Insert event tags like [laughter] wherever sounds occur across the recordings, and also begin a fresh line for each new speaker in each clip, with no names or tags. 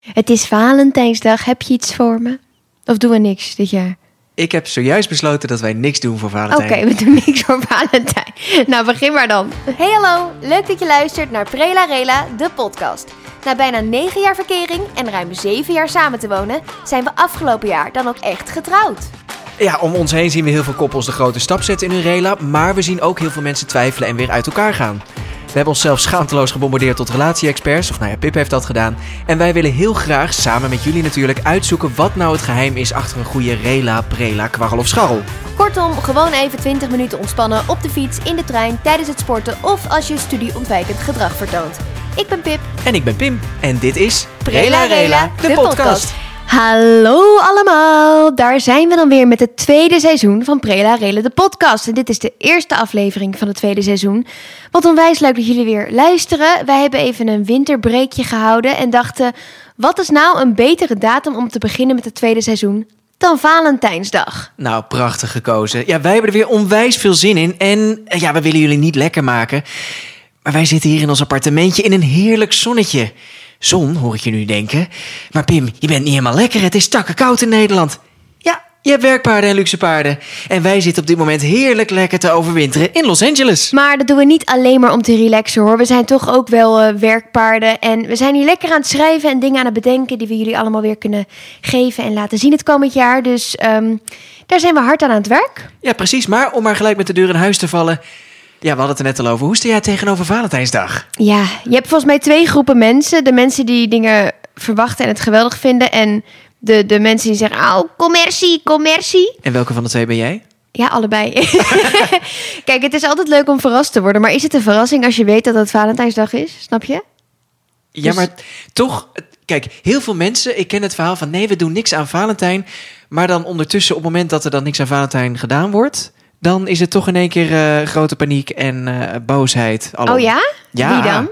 Het is Valentijnsdag, heb je iets voor me? Of doen we niks dit jaar?
Ik heb zojuist besloten dat wij niks doen voor
Oké,
Valentijn.
we doen niks voor Valentijn. Nou, begin maar dan.
Hey hallo, leuk dat je luistert naar Prela Rela, de podcast. Na bijna 9 jaar verkering en ruim 7 jaar samen te wonen, zijn we afgelopen jaar dan ook echt getrouwd.
Ja, om ons heen zien we heel veel koppels de grote stap zetten in hun rela, maar we zien ook heel veel mensen twijfelen en weer uit elkaar gaan. We hebben onszelf schaamteloos gebombardeerd tot relatie-experts, of nou ja, Pip heeft dat gedaan. En wij willen heel graag, samen met jullie natuurlijk, uitzoeken wat nou het geheim is achter een goede rela, prela, kwarrel of scharrel.
Kortom, gewoon even 20 minuten ontspannen op de fiets, in de trein, tijdens het sporten of als je studieontwijkend gedrag vertoont. Ik ben Pip.
En ik ben Pim, en dit is
Prela Rela, de podcast.
Hallo allemaal, daar zijn we dan weer met het tweede seizoen van Prela Relen de podcast. En dit is de eerste aflevering van het tweede seizoen. Wat onwijs leuk dat jullie weer luisteren. Wij hebben even een winterbreekje gehouden en dachten... wat is nou een betere datum om te beginnen met het tweede seizoen dan Valentijnsdag?
Nou, prachtig gekozen. Ja, wij hebben er weer onwijs veel zin in. En eh, ja, we willen jullie niet lekker maken. Maar wij zitten hier in ons appartementje in een heerlijk zonnetje. Zon, hoor ik je nu denken. Maar Pim, je bent niet helemaal lekker. Het is takken koud in Nederland. Ja, je hebt werkpaarden en luxe paarden. En wij zitten op dit moment heerlijk lekker te overwinteren in Los Angeles.
Maar dat doen we niet alleen maar om te relaxen hoor. We zijn toch ook wel eh, werkpaarden. En we zijn hier lekker aan het schrijven en dingen aan het bedenken. die we jullie allemaal weer kunnen geven en laten zien het komend jaar. Dus ehm, daar zijn we hard aan aan het werk.
Ja, precies. Maar om maar gelijk met de deur in huis te vallen. Ja, we hadden het er net al over. Hoe sta jij tegenover Valentijnsdag?
Ja, je hebt volgens mij twee groepen mensen: de mensen die dingen verwachten en het geweldig vinden. En de, de mensen die zeggen: Oh, commercie, commercie.
En welke van de twee ben jij?
Ja, allebei. [laughs] Kijk, het is altijd leuk om verrast te worden. Maar is het een verrassing als je weet dat het Valentijnsdag is? Snap je?
Ja,
Dus-
maar toch. Kijk, heel veel mensen, ik ken het verhaal van nee, we doen niks aan Valentijn. Maar dan ondertussen, op het moment dat er dan niks aan Valentijn gedaan wordt, dan is het toch in één keer eh, grote paniek en eh, boosheid. alom.
Oh ja?
Ja.
Wie dan?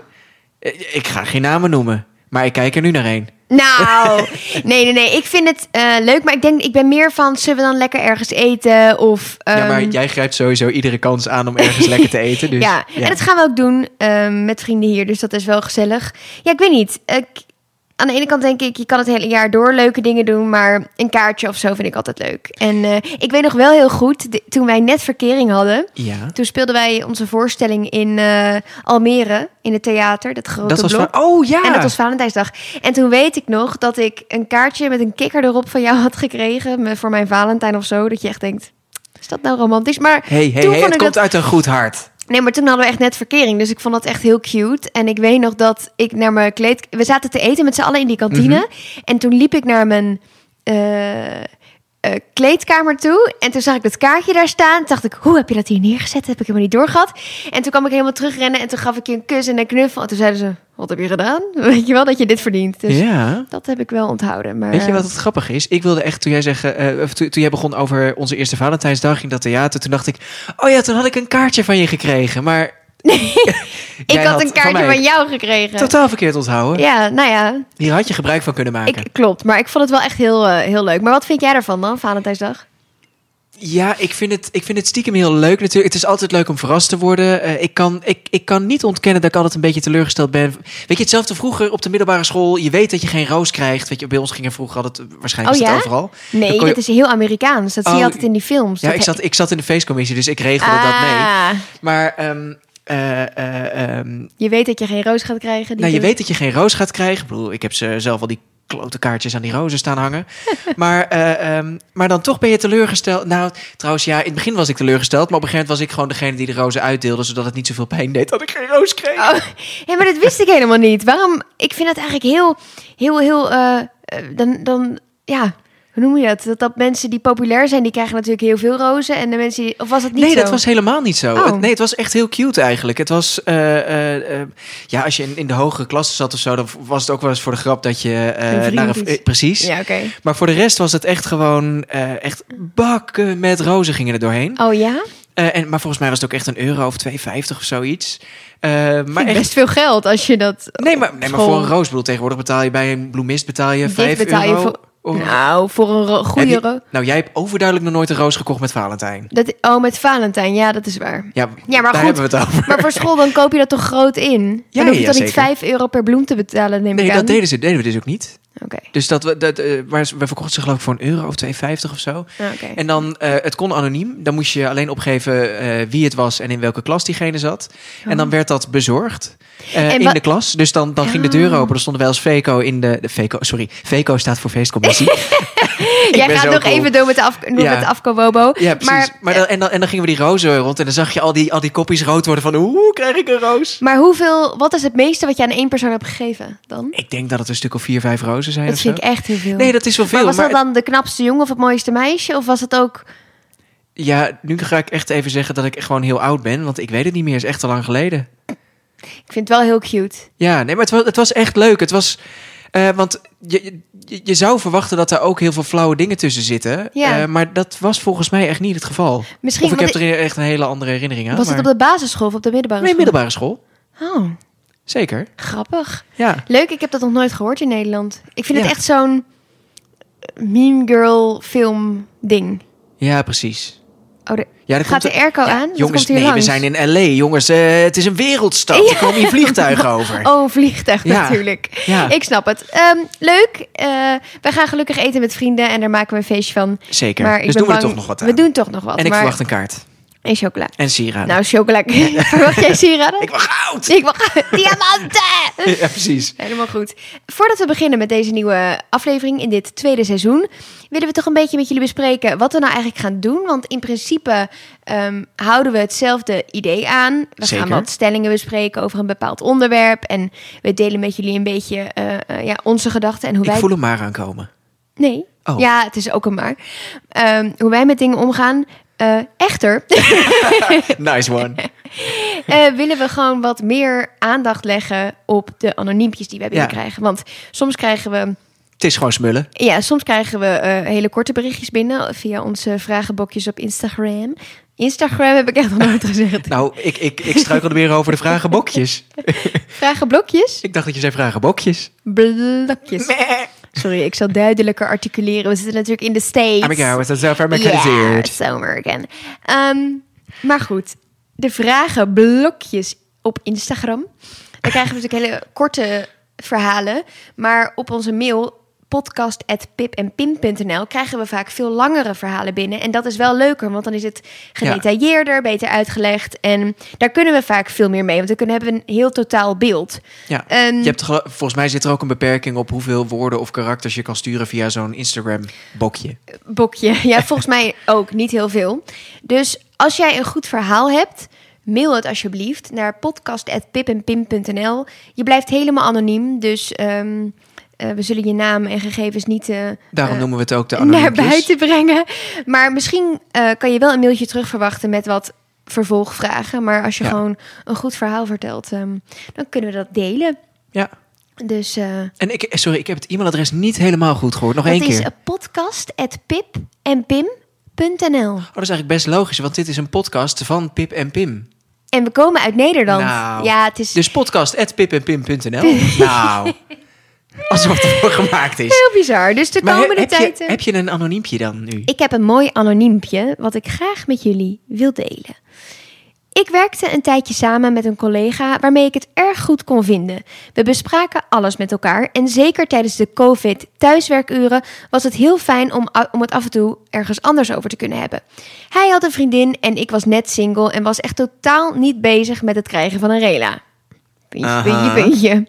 Eh, Ik ga geen namen noemen, maar ik kijk er nu naar een.
Nou, [laughs] nee, nee, nee. Ik vind het eh, leuk, maar ik denk, ik ben meer van, zullen we dan lekker ergens eten? Of,
ja, maar
ehm,
jij grijpt sowieso iedere kans aan om ergens lekker te eten. Dus,
ja. en dat gaan we ook doen ehm, met vrienden hier, dus dat is wel gezellig. Ja, ik weet niet. Ik, aan de ene kant denk ik, je kan het hele jaar door leuke dingen doen, maar een kaartje of zo vind ik altijd leuk. En eh, ik weet nog wel heel goed, de- toen wij net verkering hadden,
Ja.
toen speelden wij onze voorstelling in eh, Almere, in het theater, dat grote
Dat was
blok.
van. Oh ja.
En dat was Valentijnsdag. En toen weet ik nog dat ik een kaartje met een kikker erop van jou had gekregen. me- Voor mijn Valentijn of zo. Dat je echt denkt, is dat nou romantisch? Maar
Hey, hey,
toen
hey,
vond
het
ik
komt
dat-
uit een goed hart.
nee, maar toen hadden we echt net verkering. Dus ik vond dat echt heel cute. En ik weet nog dat ik naar mijn kleed... We zaten te eten met z'n allen in die kantine.
Mhm.
En toen liep ik naar mijn... eh, eh, kleedkamer toe. En toen zag ik dat kaartje daar staan. Toen dacht ik, hoe heb je dat hier neergezet? Dat heb ik helemaal niet doorgehad. En toen kwam ik helemaal terugrennen. En toen gaf ik je een kus en een knuffel. En toen zeiden ze, wat heb je gedaan? [laughs] Weet je wel dat je dit verdient. Dus
ja.
dat heb ik wel onthouden. Maar,
Weet je wat het grappig is? Ik wilde echt, toen jij, zeggen, eh, of toen, toen jij begon over onze eerste Valentijnsdag in dat theater, toen dacht ik, oh ja, toen had ik een kaartje van je gekregen. Maar
[laughs] Ik
[laughs] jij
had een kaartje van,
mij
jou gekregen.
Totaal verkeerd onthouden.
Ja, nou ja,
Hier had je gebruik van kunnen maken.
ik, klopt. Maar ik vond het wel echt heel, eh, heel leuk. Maar wat vind jij ervan dan, Valentijnsdag?
Ja, ik vind, het, ik vind het stiekem heel leuk natuurlijk. Het is altijd leuk om verrast te worden. Eh, ik, kan, ik, ik kan niet ontkennen dat ik altijd een beetje teleurgesteld ben. Weet je, hetzelfde vroeger op de middelbare school. Je weet dat je geen roos krijgt. Weet je, bij ons gingen vroeger altijd, waarschijnlijk
Oh
is het
ja?
overal. Dan
Nee,
kon je-
dit is heel Amerikaans. Dat zie je
Oh,
altijd in die films.
Ja,
Dat
ik
he-
zat, ik zat in de feestcommissie, dus ik regelde dat mee.
Ah,
Maar ehm, eh, eh, ehm,
Je weet dat je geen roos gaat krijgen. die
nou, je
doet-
weet dat je geen roos gaat krijgen. Ik bedoel, ik heb ze zelf al die klote kaartjes aan die rozen staan
[laughs]
hangen. maar, eh, ehm, maar dan toch ben je teleurgesteld. Nou, trouwens, ja, in het begin was ik teleurgesteld. Maar op een gegeven moment was ik gewoon degene die de rozen uitdeelde... zodat het niet zoveel pijn deed dat ik geen roos kreeg.
Oh, ja, maar dat wist ik helemaal niet. Waarom? Ik vind dat eigenlijk heel, heel, heel. eh, eh, dan, dan, ja, hoe noem je dat? dat? Dat mensen die populair zijn, die krijgen natuurlijk heel veel rozen. En de mensen die. Of was dat niet
nee,
zo?
dat was helemaal niet zo.
Oh.
Het- Nee, het was echt heel cute eigenlijk. Het was, eh, eh, eh, ja, als je in, in de hogere klasse zat of zo, dan was het ook wel eens voor de grap dat je eh,
Een vriend
naar een,
iets.
eh, precies.
Ja, oké.
Maar voor de rest was het echt gewoon eh, echt bakken met rozen gingen er doorheen.
Oh ja?
Eh, en, maar volgens mij was het ook echt een euro of 2,50 of zoiets. Eh, maar
Maar
echt,
best veel geld als je dat.
nee, maar, nee, maar
School.
voor een roos bedoel, tegenwoordig betaal je bij een bloemist betaal je
Dit
5
betaal je
euro.
voor-
Of-
Nou, voor een ro-
Heb
goede
je-
roos.
nou, jij hebt overduidelijk nog nooit een roos gekocht met Valentijn.
Dat, oh, met Valentijn, ja, dat is waar.
Ja,
Ja, maar
daar
goed.
hebben we het over.
Maar voor school, dan koop je dat toch groot in? Dan
Ja,
hoef je
ja,
dan niet
zeker.
5 euro per bloem te betalen, neem
Nee,
ik aan.
dat deden ze deden we dus ook niet.
Oké.
Dus dat, we- dat, eh, waar ze- we verkochten ze geloof ik voor een euro of 2,50 of zo.
Ah, oké.
En dan, eh, het kon anoniem. Dan moest je alleen opgeven eh, wie het was en in welke klas diegene zat. En dan werd dat bezorgd eh,
Oh. En
in
wa-
de klas. Dus dan, dan ging de
Ja.
deur open. Dan stonden wij als FECO in de... de FECO, sorry, FECO staat voor
[laughs]
feestcommissie. Ik
Jij
ben
gaat
zo
nog
cool.
even door met de, af, door
Ja.
met de afkowobo.
Ja, precies. Maar,
Maar,
dan, en, dan, en dan gingen we die rozen rond. En dan zag je al die, al die kopjes rood worden van... Hoe krijg ik een roos?
maar hoeveel, wat is het meeste wat je aan één persoon hebt gegeven dan?
Ik denk dat het een stuk of vier, vijf rozen zijn
Dat
of
vind
zo.
ik echt heel veel.
Nee, dat is wel veel.
maar was
maar-
dat dan de knapste jongen of het mooiste meisje? Of was het ook...
Ja, nu ga ik echt even zeggen dat ik gewoon heel oud ben. Want ik weet het niet meer. Het is echt al lang geleden.
Ik vind het wel heel cute.
Ja, nee, maar het was, het was echt leuk. Het was... eh, want je, je, je zou verwachten dat er ook heel veel flauwe dingen tussen zitten.
Ja.
Eh, maar dat was volgens mij echt niet het geval.
Misschien
of ik
want
heb er echt een hele andere herinnering aan.
was
maar...
het op de basisschool of op de middelbare
Nee,
school?
middelbare school.
Oh,
Zeker.
grappig.
Ja.
Leuk, ik heb dat nog nooit gehoord in Nederland. Ik vind
Ja.
het echt zo'n Mean Girl film ding.
Ja, precies.
Oh, de-
Ja, dat
gaat de
komt-
airco
Ja,
aan? Dat
Jongens,
komt hier
nee, we
langs.
zijn in L.A. Jongens, eh, het is een wereldstad. Er komen hier
[laughs]
vliegtuigen over.
Oh, een vliegtuig
Ja.
natuurlijk.
Ja.
Ik snap het. Ehm, leuk. Eh we gaan gelukkig eten met vrienden en daar maken we een feestje van.
Zeker.
Maar ik
dus
ben
doen we er
bang-
toch nog wat aan.
We doen toch nog wat.
en ik
maar...
verwacht een kaart.
En chocola.
En sieraden.
Nou, chocola. [laughs] verwacht jij sieraden?
ik wacht goud!
Ik wacht. [laughs] Diamanten!
[laughs] Ja, precies.
Helemaal goed. Voordat we beginnen met deze nieuwe aflevering in dit tweede seizoen, willen we toch een beetje met jullie bespreken wat we nou eigenlijk gaan doen. Want in principe ehm, houden we hetzelfde idee aan. We
Zeker.
gaan wat stellingen bespreken over een bepaald onderwerp. En we delen met jullie een beetje eh, eh, ja, onze gedachten en hoe
Ik
wij.
voel hem maar aankomen. [laughs]
Nee.
Oh.
Ja, het is ook een maar. Ehm, hoe wij met dingen omgaan. Eh, echter,
[laughs] Nice
[laughs]
one.
eh, willen we gewoon wat meer aandacht leggen op de anoniempjes die wij binnenkrijgen. Want soms krijgen we
Het is gewoon smullen.
Ja, soms krijgen we eh, hele korte berichtjes binnen via onze vragenbokjes op Instagram. Instagram heb ik echt nog nooit [laughs] gezegd.
[laughs] Nou, ik, ik, ik struikelde weer over de vragenbokjes.
Vragenblokjes?
Ik dacht dat je zei vragenbokjes.
Blokjes. Sorry, ik zal duidelijker articuleren. We zitten natuurlijk in de States.
Amerika was dat zelf
Ja,
amerikaniseerd.
so American. Ehm, maar goed, de vragenblokjes op Instagram. Daar krijgen we natuurlijk hele korte verhalen. Maar op onze mail podcast.pipenpim.nl krijgen we vaak veel langere verhalen binnen. En dat is wel leuker, want dan is het gedetailleerder, beter uitgelegd. En daar kunnen we vaak veel meer mee, want dan kunnen, hebben we een heel totaal beeld.
Ja.
Ehm,
Je hebt, gelo- volgens mij zit er ook een beperking op hoeveel woorden of karakters je kan sturen via zo'n Instagram-bokje.
bokje. [laughs] Ja, volgens mij ook niet heel veel. Dus als jij een goed verhaal hebt, mail het alsjeblieft naar podcast@pipenpim.nl. Je blijft helemaal anoniem, dus ehm, eh, we zullen je naam en gegevens niet eh,
Daarom
eh,
noemen we het ook de
naar
anoniempjes.
buiten brengen. Maar misschien eh, kan je wel een mailtje terugverwachten met wat vervolgvragen. Maar als je
Ja.
gewoon een goed verhaal vertelt, ehm, dan kunnen we dat delen.
Ja.
Dus eh
En ik, eh, sorry, ik heb het e-mailadres niet helemaal goed gehoord. Nog één
dat is
keer.
podcast@pipenpim.nl.
Oh, dat is eigenlijk best logisch, want dit is een podcast van Pip en Pim.
En we komen uit Nederland.
Nou,
ja, het is
Dus podcast.pipenpim.nl.
[laughs]
Nou, alsof het ervoor gemaakt is.
heel bizar. Dus de
Maar he-
komende
heb,
tijd...
je,
eh,
heb je een anoniempje dan nu?
Ik heb een mooi anoniempje wat ik graag met jullie wil delen. Ik werkte een tijdje samen met een collega waarmee ik het erg goed kon vinden. We bespraken alles met elkaar en zeker tijdens de COVID-thuiswerkuren was het heel fijn om, a- om het af en toe ergens anders over te kunnen hebben. Hij had een vriendin en ik was net single en was echt totaal niet bezig met het krijgen van een rela. Puntje, puntje,
Aha.
puntje.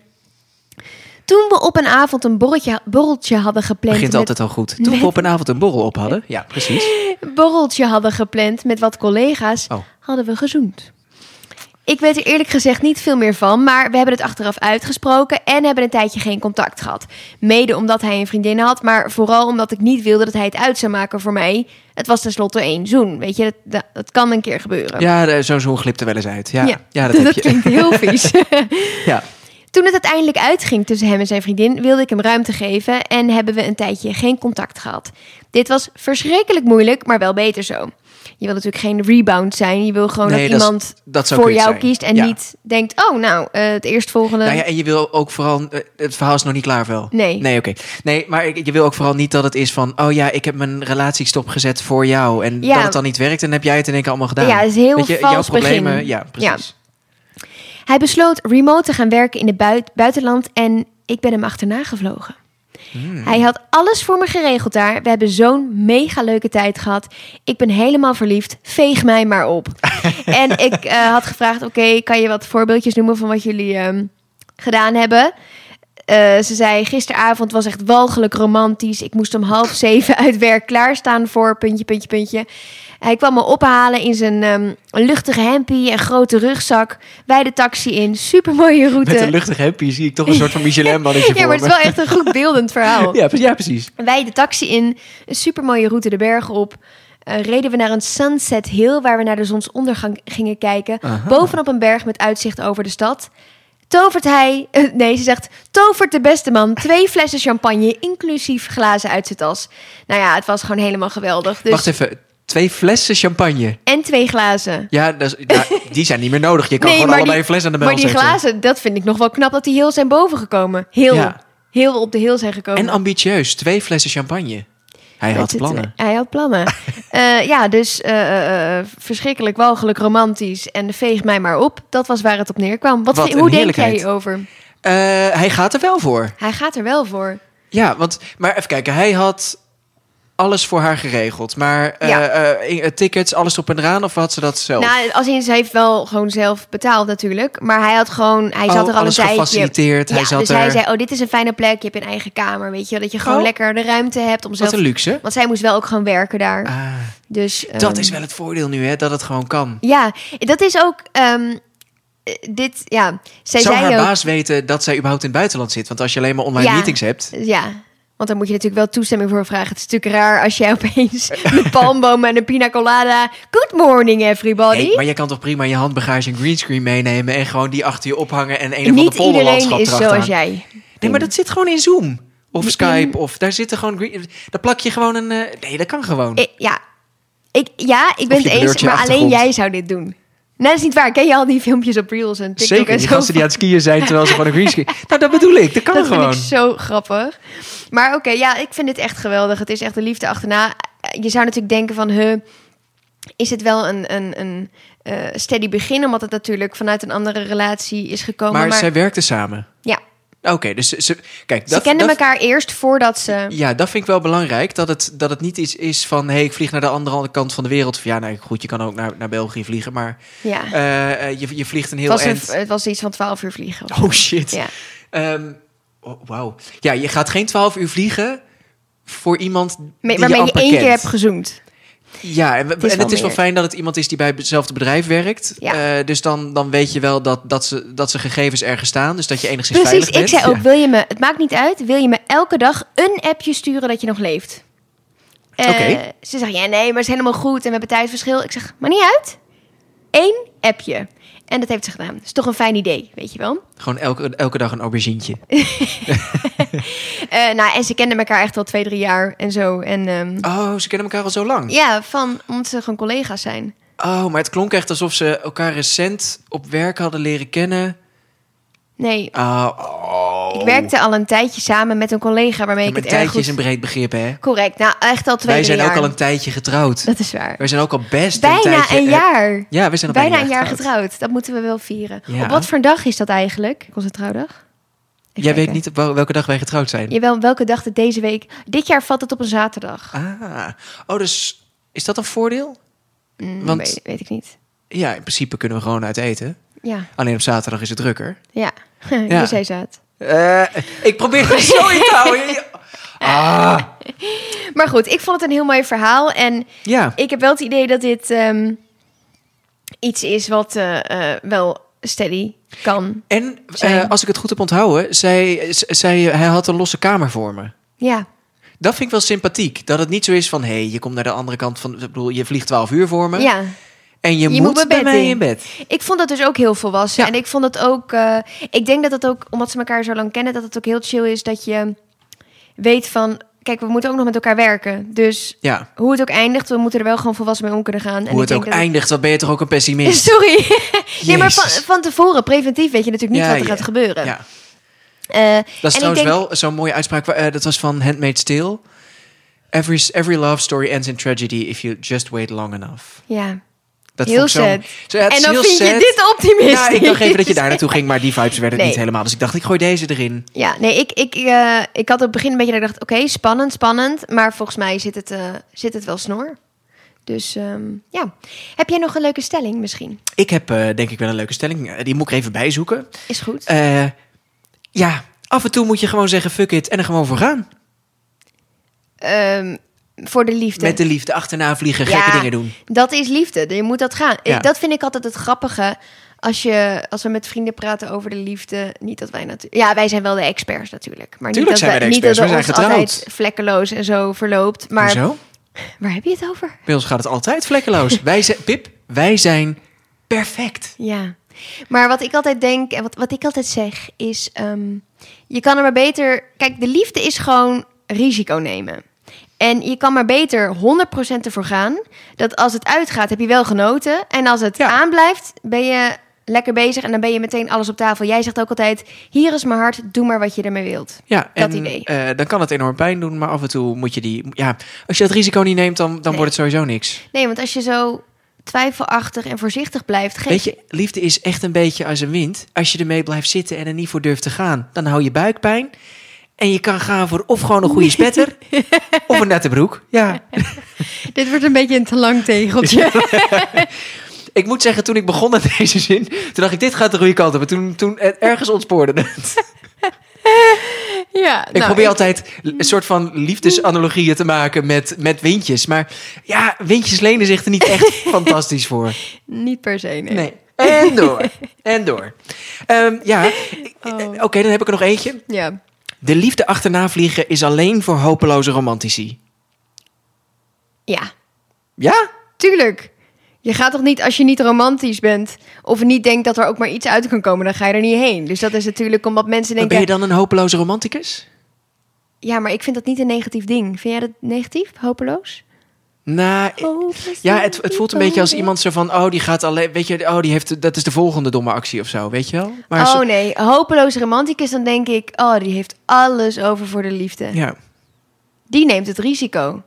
Toen we op een avond een borreltje, borreltje hadden gepland...
Begint
met-
altijd al goed. Toen we op een avond een borrel op hadden. Ja, precies.
borreltje hadden gepland met wat collega's,
Oh.
hadden we gezoend. Ik weet er eerlijk gezegd niet veel meer van, maar we hebben het achteraf uitgesproken en hebben een tijdje geen contact gehad. Mede omdat hij een vriendin had, maar vooral omdat ik niet wilde dat hij het uit zou maken voor mij. Het was tenslotte één zoen, weet je, dat, dat, dat kan een keer gebeuren.
Ja, de- zo'n zoen glipt er wel eens uit. Ja,
[laughs]
ja. dat
dat, Oh,
heb je.
klinkt heel
[laughs]
vies.
Ja.
Toen het uiteindelijk uitging tussen hem en zijn vriendin, wilde ik hem ruimte geven en hebben we een tijdje geen contact gehad. Dit was verschrikkelijk moeilijk, maar wel beter zo. Je wil natuurlijk geen rebound zijn. Je wil gewoon
Nee,
dat
dat is-
iemand
dat zou
voor
kut
jou
zijn.
kiest en
Ja.
niet denkt: oh, nou, eh, het eerstvolgende.
Nou ja, en je wil ook vooral... eh, Het verhaal is nog niet klaar wel.
Nee.
Nee, oké. Nee, maar ik- je wil ook vooral niet dat het is van... Oh ja, ik heb mijn relatie stopgezet voor jou. En
Ja.
dat het dan niet werkt. En heb jij het in één keer allemaal gedaan.
Ja, het is heel
Weet je, jouw
vals
problemen,
begin.
Ja, precies.
Hij besloot remote te gaan werken in het bui- buitenland en ik ben hem achterna gevlogen. Hij had alles voor me geregeld daar. We hebben zo'n mega leuke tijd gehad. Ik ben helemaal verliefd. Veeg mij maar
[laughs]
op. en ik eh, had gevraagd: Oké, kan je wat voorbeeldjes noemen van wat jullie ehm, gedaan hebben? Eh, ze zei: Gisteravond was echt walgelijk romantisch. Ik moest om half zeven uit werk klaarstaan voor puntje, puntje, puntje. Hij kwam me ophalen in zijn ehm, luchtige hempie en grote rugzak. Wij de taxi in. Super mooie route.
Met een luchtig happy zie ik toch een soort
[laughs]
van Michelin-mannetje
ja,
voor
maar het is Dus-
me.
wel echt een goed beeldend
[laughs]
verhaal.
Ja, pre- ja, precies.
Wij de taxi in, een supermooie route de bergen op. Eh, reden we naar een Sunset Hill waar we naar de zonsondergang gingen kijken. Bovenop een berg met uitzicht over de stad. Tovert hij, [laughs] eh, nee, ze zegt, tovert de beste man twee flessen champagne, inclusief glazen uit zijn tas. Nou ja, het was gewoon helemaal geweldig. Dus,
Wacht even, twee flessen champagne.
en twee glazen.
Ja, dat is- ja,
[laughs]
die zijn niet meer nodig. Je kan gewoon
maar
allebei
die-
een fles aan de bel
Maar die
zetten.
glazen, dat vind ik nog wel knap dat die heel zijn boven gekomen. Heel,
Ja.
heel op de heel zijn gekomen.
En ambitieus, twee flessen champagne. Hij had
Met het-
plannen.
Hij had plannen.
[laughs]
Eh, ja, dus eh, eh, eh, verschrikkelijk walgelijk romantisch. En veeg mij maar op. Dat was waar het op neerkwam. Wat,
Wat
vind-
een
hoe denk jij
heerlijkheid.
hierover?
Eh, hij gaat er wel voor.
Hij gaat er wel voor.
Ja, want, maar even kijken, hij had alles voor haar geregeld. Maar eh,
Ja.
eh, eh, tickets, alles op en eraan, of had ze dat zelf?
Nou, als in, ze heeft wel gewoon zelf betaald natuurlijk. Maar hij had gewoon, hij zat er
Oh,
al een
alles
tijdje.
gefaciliteerd. Hij
Ja,
zat
dus
er.
hij zei, oh, dit is een fijne plek. Je hebt een eigen kamer, weet je. wel, Dat je gewoon
Oh.
lekker de ruimte hebt om zelf...
Wat een luxe.
Want zij moest wel ook gewoon werken daar.
Ah,
dus,
dat
ehm,
is wel het voordeel nu, hè, dat het gewoon kan.
Ja, dat is ook... ehm, eh, dit, ja, zij
Zou
zei
haar
ook...
baas weten dat zij überhaupt in het buitenland zit? Want als je alleen maar online
Ja.
meetings hebt...
Ja, want daar moet je natuurlijk wel toestemming voor vragen. Het is natuurlijk raar als jij [laughs] opeens een palmboom en een pina colada... Good morning, everybody.
Nee, maar je kan toch prima je handbagage en greenscreen meenemen... en gewoon die achter je ophangen en een of ander
Niet iedereen
polderlandschap
is
erachteraan.
zoals jij.
Nee, maar dat zit gewoon in Zoom. Of Skype, of daar zitten gewoon... Green... Daar plak je gewoon een... eh, Nee, dat kan gewoon.
Ik- ja. Ik, ja, ik ben
je
het eens,
blurt je
maar alleen
achtergrond.
jij zou dit doen. Nee, dat is niet waar. Ken je al die filmpjes op Reels en TikTok
Zeker,
en
die
zo?
gasten die aan het skiën
[laughs]
zijn terwijl ze gewoon een greenscreen... Nou, dat bedoel ik, dat kan
dat
gewoon.
vind ik zo grappig. Maar oké, ja, ik vind dit echt geweldig. Het is echt de liefde achterna. Je zou natuurlijk denken van, huh, is het wel een, een, een eh, steady begin? Omdat het natuurlijk vanuit een andere relatie is gekomen.
maar,
Maar,
zij werkten samen.
ja,
Oké, dus ze... ze- Kijk,
ze
dat,
kenden
dat,
elkaar eerst voordat ze...
Ja, dat vind ik wel belangrijk. Dat het, dat het niet iets is van... hé, hey, ik vlieg naar de andere kant van de wereld. Of Ja, nou goed, je kan ook naar, naar België vliegen. Maar
Ja,
eh, eh, je, je vliegt een
het,
heel
was
eind.
een, het was iets van 12 uur vliegen. of zo.
Oh shit.
Ja.
Ehm, oh, Wauw. Ja, je gaat geen 12 uur vliegen voor iemand
Met-
die
waarmee
je,
je
amper
één keer
kent.
hebt gezoend.
Ja, en, we- en het
is
is,
wel
wel,
meer.
fijn dat het iemand is die bij hetzelfde bedrijf werkt.
Ja.
Eh, dus dan, dan weet je wel dat, dat, ze, dat ze gegevens ergens staan. Dus dat je enigszins
Precies,
veilig
ik
bent.
zei ook,
Ja.
wil je me, het maakt niet uit, wil je me elke dag een appje sturen dat je nog leeft? Eh,
Oké.
Ze zegt, ja nee, maar het is helemaal goed en we hebben tijdverschil. Ik zeg, maar niet uit, Eén appje. En dat heeft ze gedaan. Dat is toch een fijn idee, weet je wel.
Gewoon elke, elke dag een aubergientje.
Eh, nou, en ze kenden elkaar echt al twee, drie jaar en zo. En ehm,
Oh, ze kennen elkaar al zo lang.
ja, van, omdat ze gewoon collega's zijn.
Oh, maar het klonk echt alsof ze elkaar recent op werk hadden leren kennen.
Nee,
Ah, oh.
ik werkte al een tijdje samen met een collega waarmee
Ja,
ik
maar
het
een
erg
tijdje
goed...
is een breed begrip, hè?
Correct, nou echt al twee,
Wij
drie
zijn
jaar.
ook al een tijdje getrouwd.
Dat is waar.
Wij zijn ook al best een
Bijna
tijdje... eh,
een jaar.
Ja, we zijn al
Bijna, een jaar getrouwd. Dat moeten we wel vieren.
Ja.
Op wat voor dag is dat eigenlijk? Onze trouwdag? Even
Jij weet
kijken.
niet op wel- welke dag wij getrouwd zijn.
Jawel, welke dag het deze week... Dit jaar valt het op een zaterdag.
Ah, oh, dus is dat een voordeel?
Mm,
want-
weet, weet ik niet.
Ja, in principe kunnen we gewoon uit eten.
Ja,
Alleen op zaterdag is het drukker.
ja. [laughs] Je
Ja.
zei zaad.
Eh, ik probeer het zo in te houden.
[laughs]
Ah,
Maar goed, ik vond het een heel mooi verhaal. En
ja.
ik heb wel het idee dat dit ehm, iets is wat eh, eh, wel steady kan.
En
Zijn.
eh, als ik het goed heb onthouden, zij, z- zij, hij had een losse kamer voor me.
Ja,
Dat vind ik wel sympathiek. Dat het niet zo is van, hé, hey, je komt naar de andere kant van... Ik bedoel, je vliegt 12 uur voor me.
ja.
En
Je
je, moet,
moet mijn
bij
bed
mij
in.
in bed.
Ik vond dat dus ook heel volwassen.
Ja.
En ik vond dat ook. eh, ik denk dat dat ook, omdat ze elkaar zo lang kennen, dat het ook heel chill is dat je weet van. Kijk, we moeten ook nog met elkaar werken. Dus
Ja.
hoe het ook eindigt, we moeten er wel gewoon volwassen mee om kunnen gaan. En
Hoe
ik
het
denk
ook
dat het-
eindigt, wat ben je toch ook een pessimist?
[laughs] Sorry. nee, maar van,
Jezus.
van tevoren, preventief, weet je natuurlijk niet
Ja,
wat er
ja.
gaat gebeuren.
Ja.
Eh,
Dat is
en ik
trouwens
denk-
wel zo'n mooie uitspraak. wa- eh, dat was van Handmaid's Tale. Every, every love story ends in tragedy if you just wait long enough.
Ja.
Dat
Heel
vond ik zo-
sad.
Zo, ja, het
en
is
dan
heel
vind je
sad.
dit optimistisch.
Ja, ik dacht
[laughs]
even dat je daar naartoe ging, maar die vibes werden het
Nee.
niet helemaal. Dus ik dacht, ik gooi deze erin.
Ja, nee, ik, ik, eh, ik had op het begin een beetje dat ik dacht, oké, spannend, spannend. Maar volgens mij zit het, eh, zit het wel snor. Dus ehm, ja. Heb jij nog een leuke stelling misschien?
Ik heb eh, denk ik wel een leuke stelling. Eh, Die moet ik er even bijzoeken.
Is goed.
Eh, ja, af en toe moet je gewoon zeggen fuck it en er gewoon voor gaan.
Ehm, voor de liefde.
Met de liefde achterna vliegen,
Ja.
gekke dingen doen.
Dat is liefde. Je moet dat gaan. Ik-
Ja.
Dat vind ik altijd het grappige. Als, je, als we met vrienden praten over de liefde. Niet dat wij natuurlijk. Ja, wij zijn wel de experts natuurlijk. Maar
Tuurlijk
niet dat
zijn wij de
niet
experts.
dat
Wij
het
zijn
ons
getrouwd.
altijd vlekkeloos en zo verloopt. Maar
Hoezo?
waar heb je het over?
Bij ons gaat het altijd vlekkeloos. wij zijn, Pip, wij zijn perfect.
Ja. Maar wat ik altijd denk en wat, wat ik altijd zeg is: ehm, je kan er maar beter. Kijk, de liefde is gewoon risico nemen. En je kan maar beter 100% ervoor gaan. Dat als het uitgaat, heb je wel genoten. En als het
Ja.
aanblijft, ben je lekker bezig. En dan ben je meteen alles op tafel. Jij zegt ook altijd: hier is mijn hart, doe maar wat je ermee wilt.
Ja,
Dat
en,
idee.
eh, dan kan het enorm pijn doen, maar af en toe moet je die... Ja, als je dat risico niet neemt, dan, dan
Nee.
wordt het sowieso niks.
Nee, want als je zo twijfelachtig en voorzichtig blijft, geef
Weet je, liefde is echt een beetje als een wind. Als je ermee blijft zitten en er niet voor durft te gaan, dan hou je buikpijn. En je kan gaan voor of gewoon een goede spetter,
[laughs]
of een natte broek. Ja.
Dit wordt een beetje een te lang
[laughs]
tegeltje.
Ik moet zeggen, toen ik begon met deze zin, toen dacht ik, dit gaat de goede kant op. En toen, toen eh, ergens ontspoorde het.
[laughs] ja, nou,
ik probeer altijd een soort van liefdesanalogieën te maken met, met windjes. Maar ja, windjes lenen zich er niet
[laughs]
echt fantastisch voor.
niet per se. Nee.
Nee. En door. En door. Ehm, ja, ik- eh,
Oh.
oké, dan heb ik er nog eentje.
Ja.
De liefde achterna vliegen is alleen voor hopeloze romantici.
ja,
Ja?
Tuurlijk. Je gaat toch niet, als je niet romantisch bent of niet denkt dat er ook maar iets uit kan komen, dan ga je er niet heen. Dus dat is natuurlijk omdat mensen
Maar
denken,
ben je dan een hopeloze romanticus?
ja, maar ik vind dat niet een negatief ding. Vind jij dat negatief? Hopeloos?
Nou, eh, ja, het, het voelt een beetje als iemand zo van, oh, die gaat alleen, weet je, oh, die heeft, dat is de volgende domme actie of zo, weet je wel? Maar
oh
zo-
nee, hopeloos romanticus, dan denk ik, oh, die heeft alles over voor de liefde.
ja.
Die neemt het risico.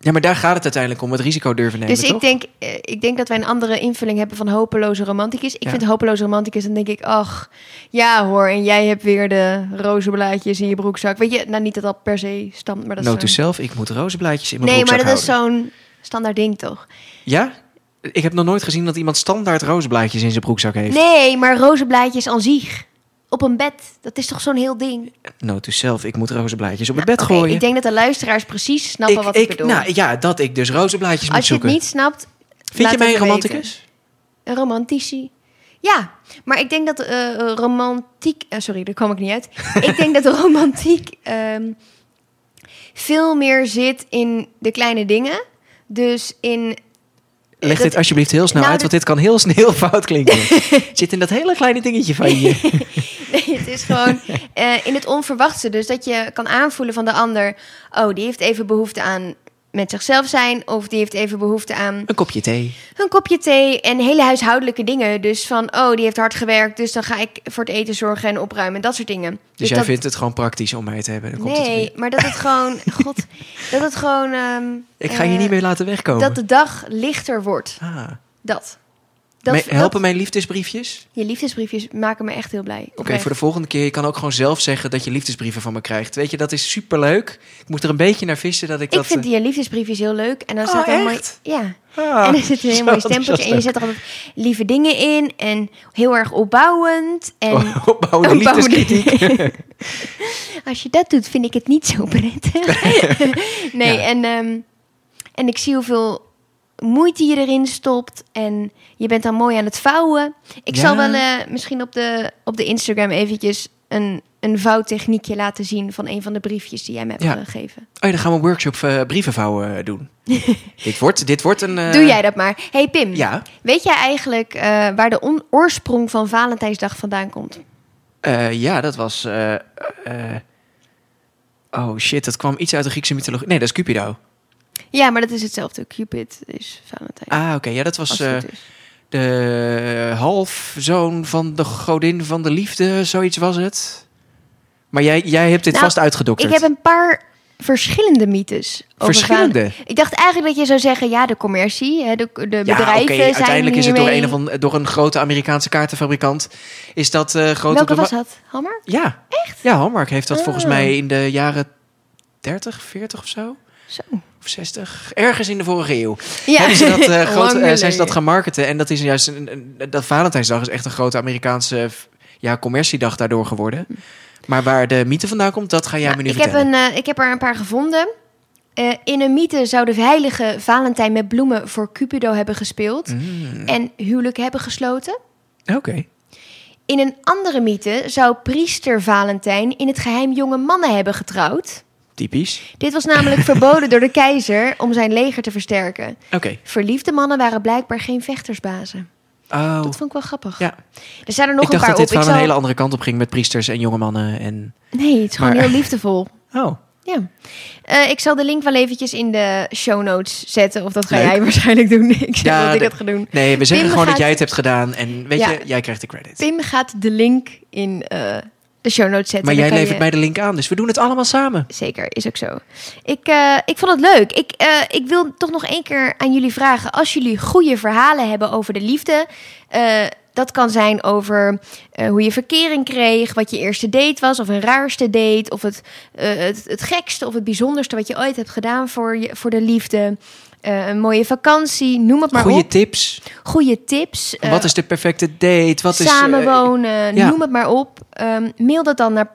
ja, maar daar gaat het uiteindelijk om, het risico durven nemen,
dus ik
toch?
denk, eh, ik denk dat wij een andere invulling hebben van hopeloze romanticus. Ik
Ja.
vind hopeloze romanticus, dan denk ik, ach, ja hoor, en jij hebt weer de rozenblaadjes in je broekzak. Weet je, nou niet dat dat per se stamt, maar dat
Note
is
to
zo'n-
self, ik moet rozenblaadjes in mijn
Nee, maar dat is
broekzak
zo'n standaard ding toch?
houden. Ja? Ik heb nog nooit gezien dat iemand standaard rozenblaadjes in zijn broekzak heeft.
Nee, maar rozenblaadjes aan zich. Op een bed. Dat is toch zo'n heel ding? Op
Note to self, ik moet rozenblaadjes op het bed gooien.
Ik denk dat de luisteraars precies snappen wat ik, bedoel.
Nou, ja, dat ik dus rozenblaadjes moet
Als je het
zoeken.
niet snapt,
Vind je
laat
mij een
het me
romanticus?
een romantici. Ja, maar ik denk dat eh, romantiek... eh, sorry, daar kwam ik niet
[laughs]
uit. ik denk dat romantiek ehm, veel meer zit in de kleine dingen. Dus
[laughs]
in...
Leg dit
dat-
alsjeblieft heel snel
Nou,
uit,
dat-
want dit kan heel [laughs] snel fout klinken.
[laughs]
Het Zit in dat hele kleine dingetje van je.
Nee, het is gewoon eh, in het onverwachte. Dus dat je kan aanvoelen van de ander. Oh, die heeft even behoefte aan met zichzelf zijn. Of die heeft even behoefte aan
Een kopje thee.
een kopje thee en hele huishoudelijke dingen. Dus van, oh, die heeft hard gewerkt. Dus dan ga ik voor het eten zorgen en opruimen. Dat soort dingen.
Dus, jij
dat,
vindt het gewoon praktisch om mij te hebben. Dan komt het
Nee,
weer.
maar dat het gewoon... God, dat het gewoon... ehm,
ik ga je
eh,
niet meer laten wegkomen.
Dat de dag lichter wordt.
Ah.
Dat. dat
Me- helpen
dat-
mijn liefdesbriefjes?
je liefdesbriefjes maken me echt heel blij.
Oké, voor de volgende keer. Je kan ook gewoon zelf zeggen dat je liefdesbrieven van me krijgt. Weet je, dat is superleuk. Ik moet er een beetje naar vissen dat
Ik
ik, dat...
vind
eh,
die liefdesbriefjes heel leuk. En dan
Oh,
staat er een mooi-
echt?
Ja.
ah,
en er
[laughs]
zit een
zo
heel mooi
enthousiast
stempeltje. En je
leuk.
zet er altijd lieve dingen in. En heel erg opbouwend. En
Oh,
[laughs]
opbouwende
Opbouwende-
liefdeskritiek.
[laughs] als je dat doet, vind ik het niet zo prettig. [laughs] nee,
Ja.
en, ehm, en ik zie hoeveel moeite je erin stopt. En je bent dan mooi aan het vouwen. Ik
Ja.
zal wel eh, misschien op de, op de Instagram eventjes een, een vouwtechniekje laten zien... van een van de briefjes die jij me hebt
Ja.
gegeven.
Oh ja, dan gaan we een workshop eh, brieven vouwen
[laughs]
eh, doen. dit, wordt, dit wordt een... eh,
Doe jij dat maar. hey Pim,
Ja.
weet jij eigenlijk eh, waar de on- oorsprong van Valentijnsdag vandaan komt?
Eh, ja, dat was. eh, eh, oh shit, dat kwam iets uit de Griekse mythologie. Nee, dat is Cupido.
Ja, maar dat is hetzelfde. Cupid is Valentijn.
Ah, oké. Ja, dat was
als het
eh,
goed is.
de halfzoon van de godin van de liefde. Zoiets was het. Maar jij, jij hebt dit
Nou,
vast uitgedokterd.
Ik heb een paar verschillende mythes. over
Verschillende?
vader- Ik dacht eigenlijk dat je zou zeggen, ja, de commercie, hè, de, de
Ja,
bedrijven
oké,
zijn
uiteindelijk is het door
hiermee...
een, of an- door een grote Amerikaanse kaartenfabrikant. Is dat eh grote...
Welke
doma-
was dat? Hammer?
Ja. Echt? Ja, Hallmark heeft dat volgens
Ah.
mij in de jaren 30, 40 of zo.
Zo.
Of 60. Ergens in de vorige eeuw.
Ja.
Hebben ze dat,
[laughs]
eh,
Lang
groot, eh, zijn ze dat
geleden.
gaan marketen. En dat is juist... Een, een- dat Valentijnsdag is echt een grote Amerikaanse f- ja, commerciedag daardoor geworden. Maar waar de mythe vandaan komt, dat ga jij me nu
ik, heb
vertellen.
een, eh, ik heb er een paar gevonden. Eh, in een mythe zou de heilige Valentijn met bloemen voor Cupido hebben gespeeld.
Mm,
En huwelijk hebben gesloten.
Oké.
In een andere mythe zou priester Valentijn in het geheim jonge mannen hebben getrouwd.
Typisch.
Dit was
[laughs]
namelijk verboden door de keizer om zijn leger te versterken.
Oké.
Verliefde mannen waren blijkbaar geen vechtersbazen.
Oh.
Dat vond ik wel grappig.
Ja.
Er zijn er nog
ik dacht
een
dat
paar op.
dit wel
zal-
een hele andere kant op ging met priesters en jonge mannen. En...
Nee, het is gewoon
Maar-
heel liefdevol.
Oh.
Ja. Eh, ik zal de link wel eventjes in de show notes zetten. Of dat ga
Leuk.
jij [laughs] waarschijnlijk doen. Ik zeg
Ja,
dat ik
de-
dat ga doen.
Nee, we zeggen
Pim
gewoon dat
gaat-
jij het hebt gedaan. En weet
Ja.
je, jij krijgt de credit.
Pim gaat de link in eh, de show notes zetten.
maar
Dan
jij
kan
levert
je-
mij de link aan, dus we doen het allemaal samen.
Zeker, is ook zo. Ik, eh, ik vond het leuk. Ik, eh, ik wil toch nog één keer aan jullie vragen. Als jullie goede verhalen hebben over de liefde. eh, dat kan zijn over eh, hoe je verkering kreeg, wat je eerste date was, of een raarste date, of het, eh, het, het gekste of het bijzonderste wat je ooit hebt gedaan voor, je, voor de liefde. Eh, een mooie vakantie, noem het maar
Goede
op.
tips.
Goede tips. eh,
wat is de perfecte date? Wat is, eh,
samenwonen,
ja.
noem het maar op. Ehm, mail dat dan naar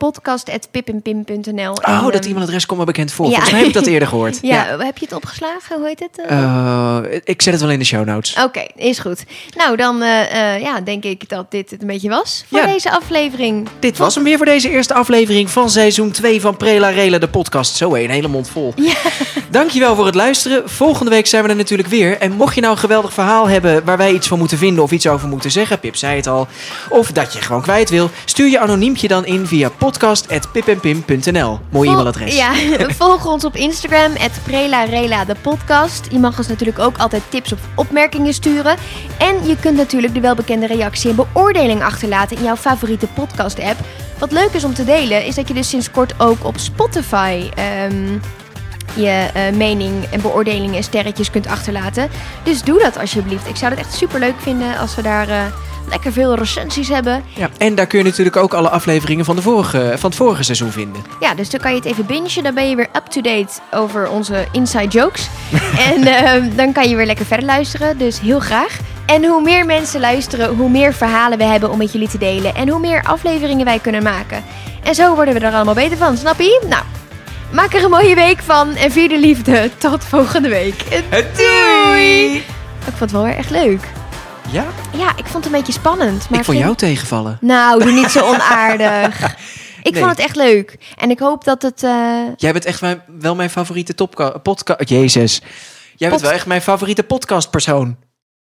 podcast.pippinpim.nl.
oh, dat
iemand
e-mailadres komt me bekend voor.
ja.
Volgens mij heb ik dat eerder gehoord.
[laughs] ja, heb je het opgeslagen? Hoe heet het? eh?
Eh, ik zet het wel in de show notes.
Oké, is goed. Nou, dan eh, eh, ja, denk ik dat dit het een beetje was voor
Ja.
deze aflevering.
Dit was hem weer voor deze eerste aflevering van seizoen 2 van Prela Rela, de podcast. Zo hé, een hele mond vol.
Ja.
Dankjewel voor het luisteren. Volgende week zijn we er natuurlijk weer. En mocht je nou een geweldig verhaal hebben waar wij iets van moeten vinden of iets over moeten zeggen, Pip zei het al, of dat je gewoon kwijt wil, stuur je anoniempje dan in via podcast.pipenpim.nl. Mooi
Vol-
e-mailadres.
Ja, [laughs] volg ons op Instagram, het Rela de podcast. Je mag ons natuurlijk ook altijd tips of opmerkingen sturen. En je kunt natuurlijk de welbekende reactie en beoordeling achterlaten in jouw favoriete podcast-app. Wat leuk is om te delen, is dat je dus sinds kort ook op Spotify... ehm, je eh, mening en beoordelingen en sterretjes kunt achterlaten. Dus doe dat alsjeblieft. Ik zou het echt super leuk vinden als we daar eh, lekker veel recensies hebben.
Ja, en daar kun je natuurlijk ook alle afleveringen van, de vorige, van het vorige seizoen vinden.
Ja, dus dan kan je het even bingen. Dan ben je weer up-to-date over onze inside [laughs] jokes. en ehm, dan kan je weer lekker verder luisteren. Dus heel graag. En hoe meer mensen luisteren, hoe meer verhalen we hebben om met jullie te delen. En hoe meer afleveringen wij kunnen maken. En zo worden we er allemaal beter van, snap je? Nou, maak er een mooie week van. En vier de liefde. Tot volgende week. Doei! Ik vond het wel weer echt leuk.
Ja,
Ja, ik vond het een beetje spannend. Maar
ik vond
vind-
jou tegenvallen.
Nou, doe niet zo [laughs] onaardig. Ik
Nee.
vond het echt leuk. En ik hoop dat het... eh,
Jij bent echt mijn, wel mijn favoriete topka- podcast. Jezus. Jij bent
Pod-
wel echt mijn favoriete podcastpersoon.